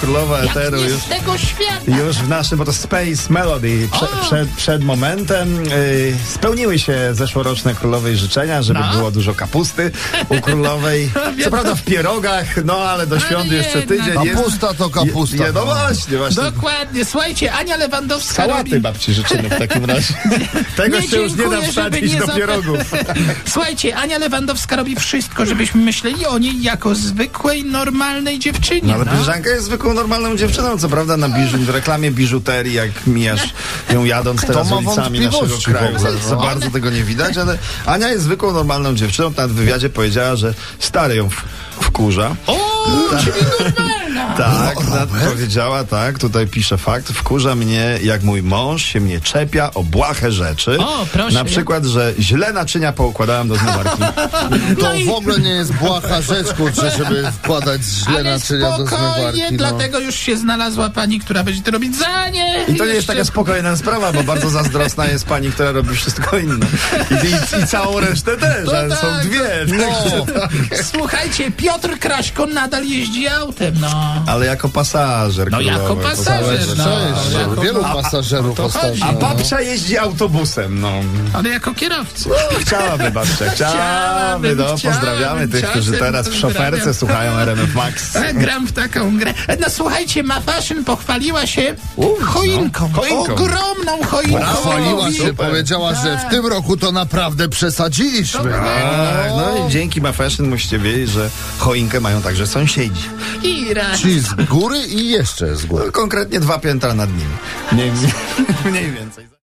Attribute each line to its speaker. Speaker 1: królowa eteru
Speaker 2: nie
Speaker 1: już.
Speaker 2: z tego świata.
Speaker 1: Już w naszym, bo to Space Melody prze, przed, przed momentem y, spełniły się zeszłoroczne królowej życzenia, żeby
Speaker 2: No.
Speaker 1: było dużo kapusty u królowej. Co prawda w pierogach, no ale do świąt
Speaker 2: Ale
Speaker 1: jeszcze
Speaker 2: jednak.
Speaker 1: tydzień. jest.
Speaker 3: Kapusta to kapusta.
Speaker 1: Je, je, no
Speaker 3: no.
Speaker 1: właśnie, właśnie.
Speaker 2: Dokładnie, słuchajcie, Ania Lewandowska
Speaker 1: Sałaty
Speaker 2: robi...
Speaker 1: babci życzymy w takim razie. Tego
Speaker 2: Nie,
Speaker 1: się już nie da
Speaker 2: dziękuję, żeby
Speaker 1: wsadzić
Speaker 2: nie
Speaker 1: do
Speaker 2: zap-
Speaker 1: pierogów.
Speaker 2: Słuchajcie, Ania Lewandowska robi wszystko, żebyśmy myśleli o niej jako zwykłej, normalnej dziewczynie.
Speaker 1: No, ale piżanka jest zwykłą, normalną dziewczyną, co prawda na biżu, w reklamie biżuterii, jak mijasz ją jadąc
Speaker 3: To
Speaker 1: teraz
Speaker 3: ma
Speaker 1: ulicami naszego
Speaker 3: wątpliwości
Speaker 1: kraju.
Speaker 3: w ogóle,
Speaker 1: Za, za
Speaker 3: no.
Speaker 1: bardzo tego nie widać, ale Ania jest zwykłą, normalną dziewczyną. Na wywiadzie powiedziała, że stary ją w, wkurza.
Speaker 2: O, czyli normalna.
Speaker 1: Tak, na, powiedziała tak, tutaj pisze fakt, wkurza mnie, jak mój mąż się mnie czepia o błahe rzeczy.
Speaker 2: O, proszę.
Speaker 1: Na przykład, że źle naczynia poukładałem do zmywarki.
Speaker 3: To
Speaker 2: No i-
Speaker 3: w ogóle nie jest błaha rzecz, kurczę, żeby wkładać źle
Speaker 2: Ale
Speaker 3: naczynia do zmywarki.
Speaker 2: spokojnie,
Speaker 3: no.
Speaker 2: dlatego już się znalazła pani, która będzie to robić za nie.
Speaker 1: I to nie jest
Speaker 2: Jeszcze-
Speaker 1: taka spokojna sprawa, bo bardzo zazdrosna jest pani, która robi wszystko inne. I, i, i całą resztę też,
Speaker 2: No
Speaker 1: ale
Speaker 2: tak,
Speaker 1: są dwie.
Speaker 3: No,
Speaker 2: Słuchajcie, Piotr Kraśko nadal jeździ autem, no.
Speaker 1: Ale jako pasażer.
Speaker 2: No jako
Speaker 1: królowej,
Speaker 2: pasażer,
Speaker 1: pasażer.
Speaker 2: no.
Speaker 3: cześć,
Speaker 2: jako-
Speaker 3: wielu pasażerów ostatnio.
Speaker 1: A
Speaker 3: no.
Speaker 1: babcia jeździ autobusem, no.
Speaker 2: Ale jako kierowca.
Speaker 1: Chciałaby babcia, chciałaby,
Speaker 2: Chciałabym,
Speaker 1: no. Pozdrawiamy
Speaker 2: chciałabym,
Speaker 1: tych, którzy
Speaker 2: czasem
Speaker 1: teraz w szoferce
Speaker 2: pozdrawiam.
Speaker 1: słuchają RMF Max.
Speaker 2: A, E, Gram w taką grę. No słuchajcie, ma fashion pochwaliła się choinką.
Speaker 1: no. choinką.
Speaker 2: Ogromną choinką.
Speaker 3: Chwaliła się,
Speaker 1: Super.
Speaker 3: powiedziała, że
Speaker 2: Tak.
Speaker 3: w tym roku to naprawdę przesadziliśmy.
Speaker 1: Tak, no i dzięki MaFashion musicie wiedzieć, że choinkę mają także sąsiedzi.
Speaker 2: I raz.
Speaker 3: Ci z góry i jeszcze z góry.
Speaker 1: Konkretnie dwa piętra nad nimi. Mniej, mniej więcej.